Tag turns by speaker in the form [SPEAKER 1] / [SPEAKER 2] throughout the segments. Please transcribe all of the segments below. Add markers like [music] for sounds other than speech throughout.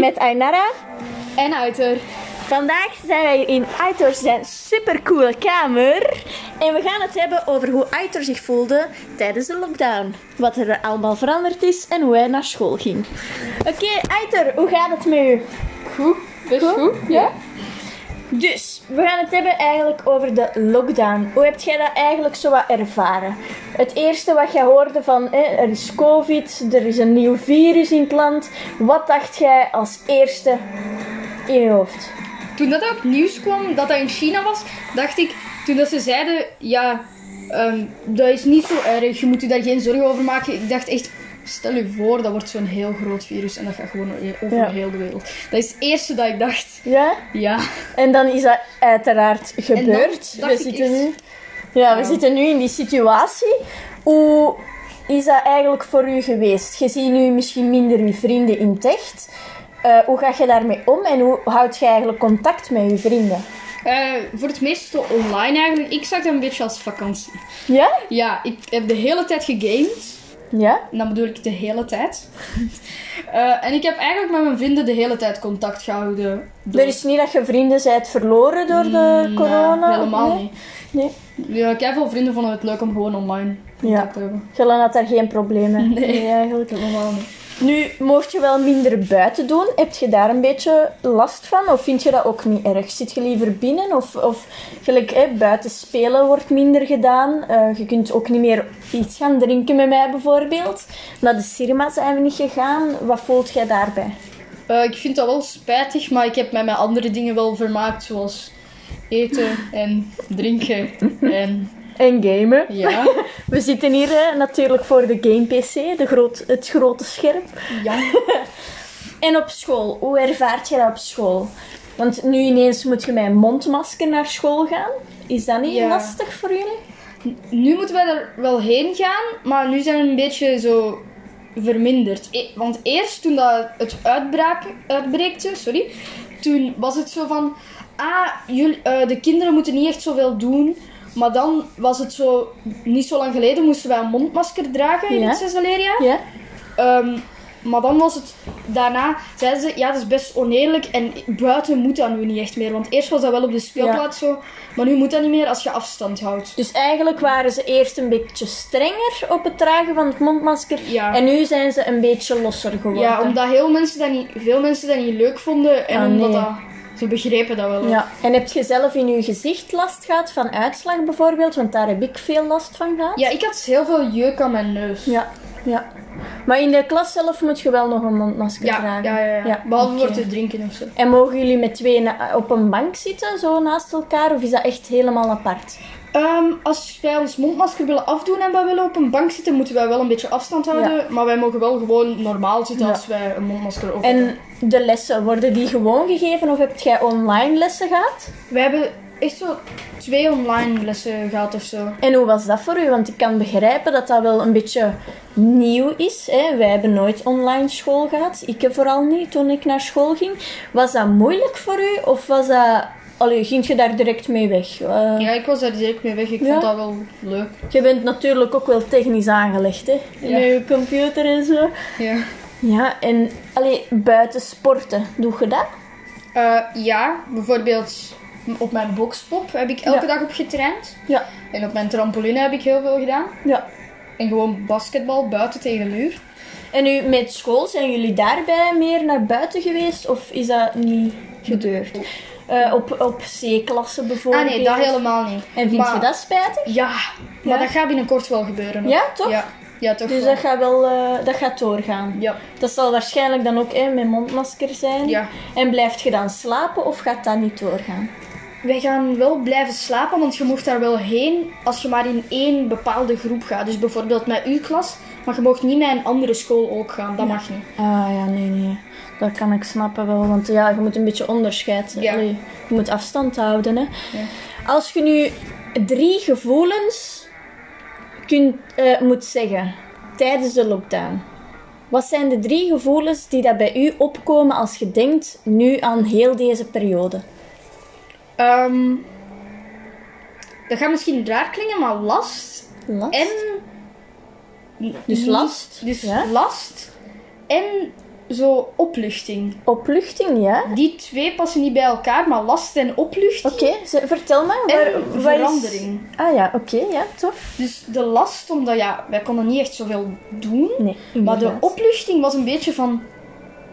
[SPEAKER 1] met Ainara.
[SPEAKER 2] En Uiter.
[SPEAKER 1] Vandaag zijn wij in Aitor zijn supercoole kamer. En we gaan het hebben over hoe Aitor zich voelde tijdens de lockdown. Wat er allemaal veranderd is en hoe hij naar school ging. Oké, Aitor, hoe gaat het met u?
[SPEAKER 2] Goed. Best goed, ja?
[SPEAKER 1] Dus, we gaan het hebben eigenlijk over de lockdown. Hoe heb jij dat eigenlijk zo wat ervaren? Het eerste wat jij hoorde van, eh, er is covid, er is een nieuw virus in het land. Wat dacht jij als eerste in je hoofd?
[SPEAKER 2] Toen dat op nieuws kwam dat dat in China was, dacht ik, toen dat ze zeiden, ja, ehm, dat is niet zo erg, je moet je daar geen zorgen over maken. Ik dacht echt, stel je voor, dat wordt zo'n heel groot virus en dat gaat gewoon over
[SPEAKER 1] Ja.
[SPEAKER 2] heel de wereld. Dat is het eerste dat ik dacht.
[SPEAKER 1] Ja?
[SPEAKER 2] Ja.
[SPEAKER 1] En dan is dat uiteraard gebeurd.
[SPEAKER 2] dacht
[SPEAKER 1] we
[SPEAKER 2] ik
[SPEAKER 1] zitten
[SPEAKER 2] echt-
[SPEAKER 1] nu, ja, we
[SPEAKER 2] Ja.
[SPEAKER 1] zitten nu in die situatie. Hoe is dat eigenlijk voor u geweest? Je ziet nu misschien minder uw vrienden in het echt. Eh, hoe ga je daarmee om en hoe houd je eigenlijk contact met je vrienden?
[SPEAKER 2] Eh, voor het meeste online eigenlijk. Ik zag dat een beetje als vakantie.
[SPEAKER 1] Ja?
[SPEAKER 2] Ja, ik heb de hele tijd gegamed.
[SPEAKER 1] Ja?
[SPEAKER 2] En dan bedoel ik de hele
[SPEAKER 1] [laughs]
[SPEAKER 2] tijd. Eh, en ik heb eigenlijk met mijn vrienden de hele tijd contact gehouden. Door-
[SPEAKER 1] Er is niet dat je vrienden zijt verloren door de
[SPEAKER 2] Nee,
[SPEAKER 1] corona?
[SPEAKER 2] Mm, helemaal
[SPEAKER 1] Nee?
[SPEAKER 2] niet.
[SPEAKER 1] Nee.
[SPEAKER 2] Ja, ik heb veel vrienden vonden het leuk om gewoon online contact
[SPEAKER 1] Ja.
[SPEAKER 2] te hebben.
[SPEAKER 1] Gillen had daar geen problemen mee.
[SPEAKER 2] [laughs] Nee.
[SPEAKER 1] eigenlijk.
[SPEAKER 2] Normaal niet.
[SPEAKER 1] Nu, mocht je wel minder buiten doen, heb je daar een beetje last van? Of vind je dat ook niet erg? Zit je liever binnen? Of, of gelijk, hè, buiten spelen wordt minder gedaan. Eh, je kunt ook niet meer iets gaan drinken met mij, bijvoorbeeld. Naar de cinema zijn we niet gegaan. Wat voelt jij daarbij?
[SPEAKER 2] Eh, ik vind dat wel spijtig, maar ik heb mij met andere dingen wel vermaakt, zoals eten en drinken. En
[SPEAKER 1] En gamen.
[SPEAKER 2] ja, [laughs]
[SPEAKER 1] We zitten hier hè, natuurlijk voor de game PC, de groot, het grote scherm.
[SPEAKER 2] ja.
[SPEAKER 1] En op school, hoe ervaart je dat op school? Want nu ineens moet je met een mondmasker naar school gaan. Is dat niet
[SPEAKER 2] Ja.
[SPEAKER 1] lastig voor jullie?
[SPEAKER 2] Nu moeten wij er wel heen gaan, maar nu zijn we een beetje zo verminderd. E- want eerst toen dat het uitbraak, uitbreekte, sorry, toen was het zo van, ah, jullie, eh, de kinderen moeten niet echt zoveel doen. Maar dan was het zo, niet zo lang geleden moesten wij een mondmasker dragen in
[SPEAKER 1] Ja.
[SPEAKER 2] het zesde leerjaar.
[SPEAKER 1] Ja?
[SPEAKER 2] Ehm, maar dan was het, daarna zeiden ze, ja, dat is best oneerlijk en buiten moet dat nu niet echt meer. Want eerst was dat wel op de speelplaats zo, maar nu moet dat niet meer als je afstand houdt.
[SPEAKER 1] Dus eigenlijk waren ze eerst een beetje strenger op het dragen van het mondmasker.
[SPEAKER 2] Ja.
[SPEAKER 1] En nu zijn ze een beetje losser geworden.
[SPEAKER 2] Ja, omdat heel mensen dat niet, veel mensen dat niet leuk vonden en
[SPEAKER 1] Ah,
[SPEAKER 2] omdat
[SPEAKER 1] nee.
[SPEAKER 2] dat, ze begrepen dat wel.
[SPEAKER 1] Ja. En heb je zelf in je gezicht last gehad van uitslag bijvoorbeeld? Want daar heb ik veel last van gehad.
[SPEAKER 2] Ja, ik had dus heel veel jeuk aan mijn neus.
[SPEAKER 1] Ja. ja. Maar in de klas zelf moet je wel nog een mondmasker
[SPEAKER 2] ja, ja,
[SPEAKER 1] dragen.
[SPEAKER 2] ja, ja. Behalve
[SPEAKER 1] oké.
[SPEAKER 2] voor te drinken of zo.
[SPEAKER 1] En mogen jullie met twee na- op een bank zitten, zo naast elkaar? Of is dat echt helemaal apart?
[SPEAKER 2] Ehm, als wij ons mondmasker willen afdoen en wij willen op een bank zitten, moeten wij wel een beetje afstand houden. Maar wij mogen wel gewoon normaal zitten
[SPEAKER 1] Ja.
[SPEAKER 2] als wij een mondmasker op hebben.
[SPEAKER 1] En de lessen, worden die gewoon gegeven of heb jij online lessen gehad?
[SPEAKER 2] Wij hebben echt zo twee online lessen gehad of zo.
[SPEAKER 1] En hoe was dat voor u? Want ik kan begrijpen dat dat wel een beetje nieuw is. Hè? Wij hebben nooit online school gehad. Ik vooral niet toen ik naar school ging. Was dat moeilijk voor u of was dat. Allee, ging je daar direct mee weg? Eh,
[SPEAKER 2] Ja, ik was daar direct mee weg. Ik
[SPEAKER 1] Ja.
[SPEAKER 2] vond dat wel leuk.
[SPEAKER 1] Je bent natuurlijk ook wel technisch aangelegd, hè?
[SPEAKER 2] Ja.
[SPEAKER 1] Met je computer en zo.
[SPEAKER 2] Ja.
[SPEAKER 1] Ja, en allee, buiten sporten, doe je dat?
[SPEAKER 2] Eh, ja, bijvoorbeeld op mijn boxpop heb ik elke
[SPEAKER 1] Ja.
[SPEAKER 2] dag op getraind.
[SPEAKER 1] Ja.
[SPEAKER 2] En op mijn trampoline heb ik heel veel gedaan.
[SPEAKER 1] ja.
[SPEAKER 2] En gewoon basketbal buiten tegen de muur.
[SPEAKER 1] En nu met school, zijn jullie daarbij meer naar buiten geweest of is dat niet gebeurd? Eh, op, op C-klasse
[SPEAKER 2] Ah
[SPEAKER 1] bijvoorbeeld?
[SPEAKER 2] nee, dat helemaal niet.
[SPEAKER 1] En vind
[SPEAKER 2] Maar-
[SPEAKER 1] je dat spijtig?
[SPEAKER 2] Ja,
[SPEAKER 1] Ja?
[SPEAKER 2] maar dat gaat binnenkort wel gebeuren. hoor.
[SPEAKER 1] Ja, toch?
[SPEAKER 2] Ja, ja toch
[SPEAKER 1] Dus
[SPEAKER 2] wel.
[SPEAKER 1] dat gaat wel eh, dat gaat doorgaan.
[SPEAKER 2] Ja.
[SPEAKER 1] Dat zal waarschijnlijk dan ook hè, met mondmasker zijn.
[SPEAKER 2] Ja.
[SPEAKER 1] En blijft je dan slapen of gaat dat niet doorgaan?
[SPEAKER 2] Wij gaan wel blijven slapen, want je mocht daar wel heen als je maar in één bepaalde groep gaat. Dus bijvoorbeeld met uw klas, maar je mag niet met een andere school ook gaan. Dat mag niet.
[SPEAKER 1] Ah ja, nee, nee. Dat kan ik snappen wel, want ja, je moet een beetje onderscheid.
[SPEAKER 2] Ja.
[SPEAKER 1] Allee, je moet afstand houden. Hè.
[SPEAKER 2] Ja.
[SPEAKER 1] Als je nu drie gevoelens kunt, eh, moet zeggen tijdens de lockdown. Wat zijn de drie gevoelens die dat bij u opkomen als je denkt nu aan heel deze periode?
[SPEAKER 2] Ehm, dat gaat misschien raar klingen, maar last
[SPEAKER 1] Last?
[SPEAKER 2] En.
[SPEAKER 1] Dus last,
[SPEAKER 2] Dus
[SPEAKER 1] ja.
[SPEAKER 2] last. En zo opluchting.
[SPEAKER 1] Opluchting, ja?
[SPEAKER 2] Die twee passen niet bij elkaar, maar last en opluchting.
[SPEAKER 1] Oké, ze- vertel me. Waar,
[SPEAKER 2] En
[SPEAKER 1] waar is-
[SPEAKER 2] verandering.
[SPEAKER 1] Ah ja, oké, ja, tof.
[SPEAKER 2] Dus de last, omdat ja, wij konden niet echt zoveel doen.
[SPEAKER 1] Nee,
[SPEAKER 2] Maar de
[SPEAKER 1] inderdaad.
[SPEAKER 2] opluchting was een beetje van...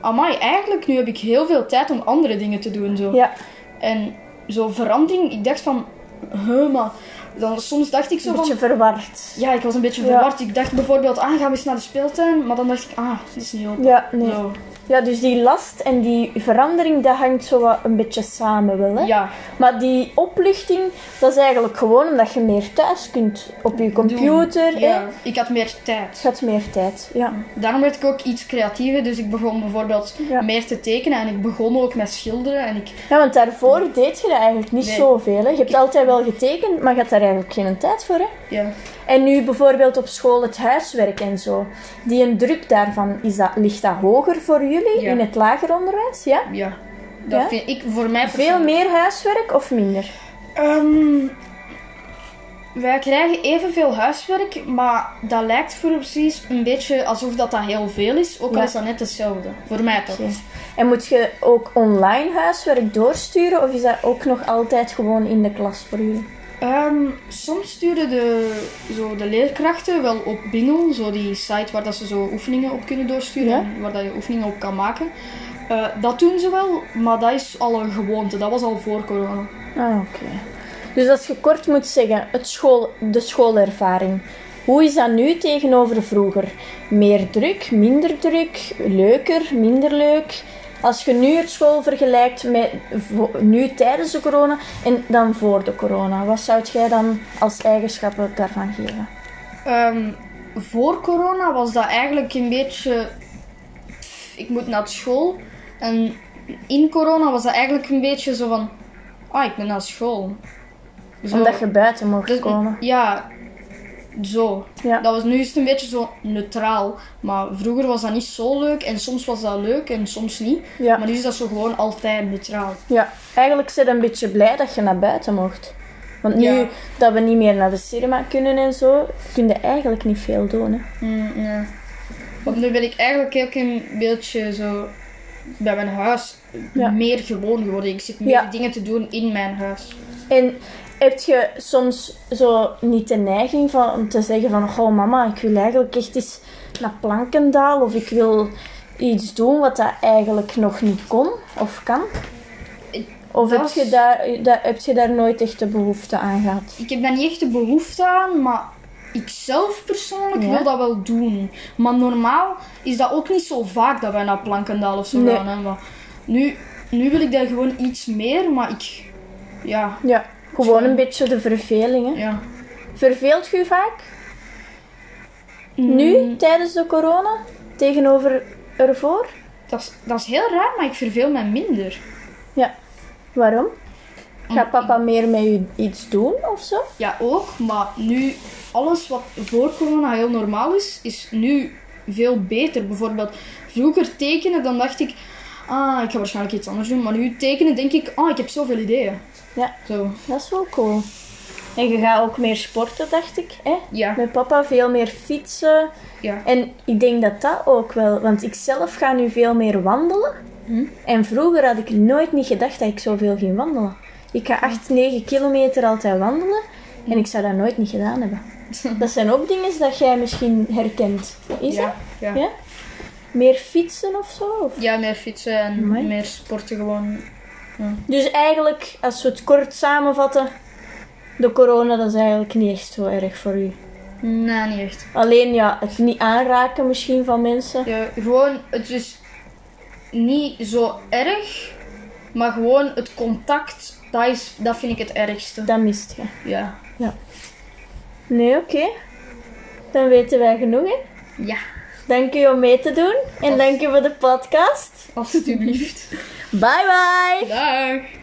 [SPEAKER 2] Amai, eigenlijk nu heb ik heel veel tijd om andere dingen te doen. Zo.
[SPEAKER 1] Ja,
[SPEAKER 2] En zo verandering, ik dacht van... Huh, maar... Dan, soms dacht ik zo
[SPEAKER 1] een
[SPEAKER 2] van...
[SPEAKER 1] beetje verward.
[SPEAKER 2] Ja, ik was een beetje
[SPEAKER 1] Ja.
[SPEAKER 2] verward. Ik dacht bijvoorbeeld, ah, gaan we eens naar de speeltuin? Maar dan dacht ik, ah, dat is niet Nou, op.
[SPEAKER 1] Ja, nee.
[SPEAKER 2] Zo.
[SPEAKER 1] Ja, dus die last en die verandering, dat hangt zo wat een beetje samen wel, hè?
[SPEAKER 2] Ja,
[SPEAKER 1] Maar die opluchting, dat is eigenlijk gewoon omdat je meer thuis kunt op je computer. Hè?
[SPEAKER 2] ja. Ik had meer
[SPEAKER 1] Het
[SPEAKER 2] tijd.
[SPEAKER 1] gaat meer tijd, ja.
[SPEAKER 2] Daarom werd ik ook iets creatiever. Dus ik begon bijvoorbeeld
[SPEAKER 1] Ja.
[SPEAKER 2] meer te tekenen. En ik begon ook met schilderen. En ik...
[SPEAKER 1] Ja, want daarvoor deed je dat eigenlijk niet
[SPEAKER 2] Nee.
[SPEAKER 1] zoveel. Hè? Je hebt altijd wel getekend, maar je had daar eigenlijk geen tijd voor. Hè?
[SPEAKER 2] Ja.
[SPEAKER 1] En nu bijvoorbeeld op school het huiswerk en zo. Die een druk daarvan, is dat, ligt dat hoger voor jullie
[SPEAKER 2] Ja.
[SPEAKER 1] in het lager onderwijs? Ja?
[SPEAKER 2] Ja. Dat
[SPEAKER 1] Ja?
[SPEAKER 2] vind ik voor mij
[SPEAKER 1] Veel meer huiswerk of minder?
[SPEAKER 2] Ehm, wij krijgen evenveel huiswerk, maar dat lijkt voor precies een beetje alsof dat, dat heel veel is. Ook
[SPEAKER 1] Ja.
[SPEAKER 2] al is dat net hetzelfde. Voor mij toch.
[SPEAKER 1] Oké. En moet je ook online huiswerk doorsturen of is dat ook nog altijd gewoon in de klas voor jullie?
[SPEAKER 2] Ehm, soms sturen de, zo de leerkrachten wel op Bingel, zo die site waar dat ze zo oefeningen op kunnen doorsturen
[SPEAKER 1] Ja.
[SPEAKER 2] en waar dat je oefeningen op kan maken. Eh, dat doen ze wel, maar dat is al een gewoonte. Dat was al voor corona.
[SPEAKER 1] Ah, oké. Dus als je kort moet zeggen, het school, de schoolervaring. Hoe is dat nu tegenover vroeger? Meer druk, minder druk, leuker, minder leuk? Als je nu het school vergelijkt met vo- nu tijdens de corona en dan voor de corona, wat zou jij dan als eigenschappen daarvan geven?
[SPEAKER 2] Ehm, voor corona was dat eigenlijk een beetje. pff, Ik moet naar school. En in corona was dat eigenlijk een beetje zo van. Ah, ik ben naar school. Zo.
[SPEAKER 1] Omdat je buiten mocht
[SPEAKER 2] Dus-
[SPEAKER 1] komen.
[SPEAKER 2] Ja, zo.
[SPEAKER 1] Ja.
[SPEAKER 2] Dat was, nu is het een beetje zo neutraal. Maar vroeger was dat niet zo leuk. En soms was dat leuk en soms niet.
[SPEAKER 1] Ja.
[SPEAKER 2] Maar nu is dat zo gewoon altijd neutraal.
[SPEAKER 1] Ja, eigenlijk zit een beetje blij dat je naar buiten mocht. Want nu
[SPEAKER 2] Ja.
[SPEAKER 1] dat we niet meer naar de cinema kunnen en zo, kun je eigenlijk niet veel doen. Hè?
[SPEAKER 2] Mm, nee. Want nu ben ik eigenlijk ook een beetje zo bij mijn huis
[SPEAKER 1] Ja.
[SPEAKER 2] meer gewoon geworden. Ik zit meer
[SPEAKER 1] Ja.
[SPEAKER 2] dingen te doen in mijn huis.
[SPEAKER 1] En heb je soms zo niet de neiging van, om te zeggen van... Goh mama, ik wil eigenlijk echt eens naar Plankendaal. Of ik wil iets doen wat dat eigenlijk nog niet kon of kan.
[SPEAKER 2] Ik-
[SPEAKER 1] Of
[SPEAKER 2] dat
[SPEAKER 1] heb
[SPEAKER 2] is-
[SPEAKER 1] je, daar, daar, heb je daar nooit echt de behoefte aan gehad?
[SPEAKER 2] Ik heb daar niet echt de behoefte aan, maar ik zelf persoonlijk
[SPEAKER 1] Ja.
[SPEAKER 2] wil dat wel doen. Maar normaal is dat ook niet zo vaak dat wij naar Plankendaal of zo
[SPEAKER 1] Nee.
[SPEAKER 2] gaan. Hè? Maar nu, nu wil ik daar gewoon iets meer, maar ik... Ja,
[SPEAKER 1] Ja, gewoon een beetje de verveling. Hè?
[SPEAKER 2] ja.
[SPEAKER 1] Verveelt je vaak?
[SPEAKER 2] Mm,
[SPEAKER 1] Nu, tijdens de corona, tegenover ervoor?
[SPEAKER 2] Dat is, dat is heel raar, maar ik verveel mij minder.
[SPEAKER 1] Ja. Waarom? Gaat papa meer met u iets doen of zo?
[SPEAKER 2] Ja, ook. Maar nu, alles wat voor corona heel normaal is, is nu veel beter. Bijvoorbeeld, vroeger tekenen, dan dacht ik... Ah, ik ga waarschijnlijk iets anders doen. Maar nu tekenen, denk ik... Ah, ik heb zoveel ideeën.
[SPEAKER 1] Ja,
[SPEAKER 2] Zo.
[SPEAKER 1] dat is wel cool. En je gaat ook meer sporten, dacht ik. Hè?
[SPEAKER 2] Ja.
[SPEAKER 1] Met papa veel meer fietsen.
[SPEAKER 2] Ja.
[SPEAKER 1] En ik denk dat dat ook wel, want ik zelf ga nu veel meer wandelen.
[SPEAKER 2] Hm?
[SPEAKER 1] En vroeger had ik nooit niet gedacht dat ik zoveel ging wandelen. Ik ga 8, 9 kilometer altijd wandelen en ik zou dat nooit niet gedaan hebben. [laughs] Dat zijn ook dingen dat jij misschien herkent. Is
[SPEAKER 2] ja,
[SPEAKER 1] dat?
[SPEAKER 2] Ja.
[SPEAKER 1] Ja? Meer fietsen of zo? Of?
[SPEAKER 2] Ja, meer fietsen en
[SPEAKER 1] Amai.
[SPEAKER 2] meer sporten gewoon.
[SPEAKER 1] Dus eigenlijk, als we het kort samenvatten, de corona dat is eigenlijk niet echt zo erg voor u.
[SPEAKER 2] Nee, niet echt.
[SPEAKER 1] Alleen ja, het niet aanraken misschien van mensen.
[SPEAKER 2] Ja, gewoon, het is niet zo erg. Maar gewoon het contact, dat, is, dat vind ik het ergste.
[SPEAKER 1] Dat mist je.
[SPEAKER 2] Ja.
[SPEAKER 1] Nee, oké. Dan weten wij genoeg, hè. [laughs]
[SPEAKER 2] Ja,
[SPEAKER 1] Dank u om mee te doen. En dank u voor de podcast.
[SPEAKER 2] alstublieft.
[SPEAKER 1] Bye bye.
[SPEAKER 2] Dag.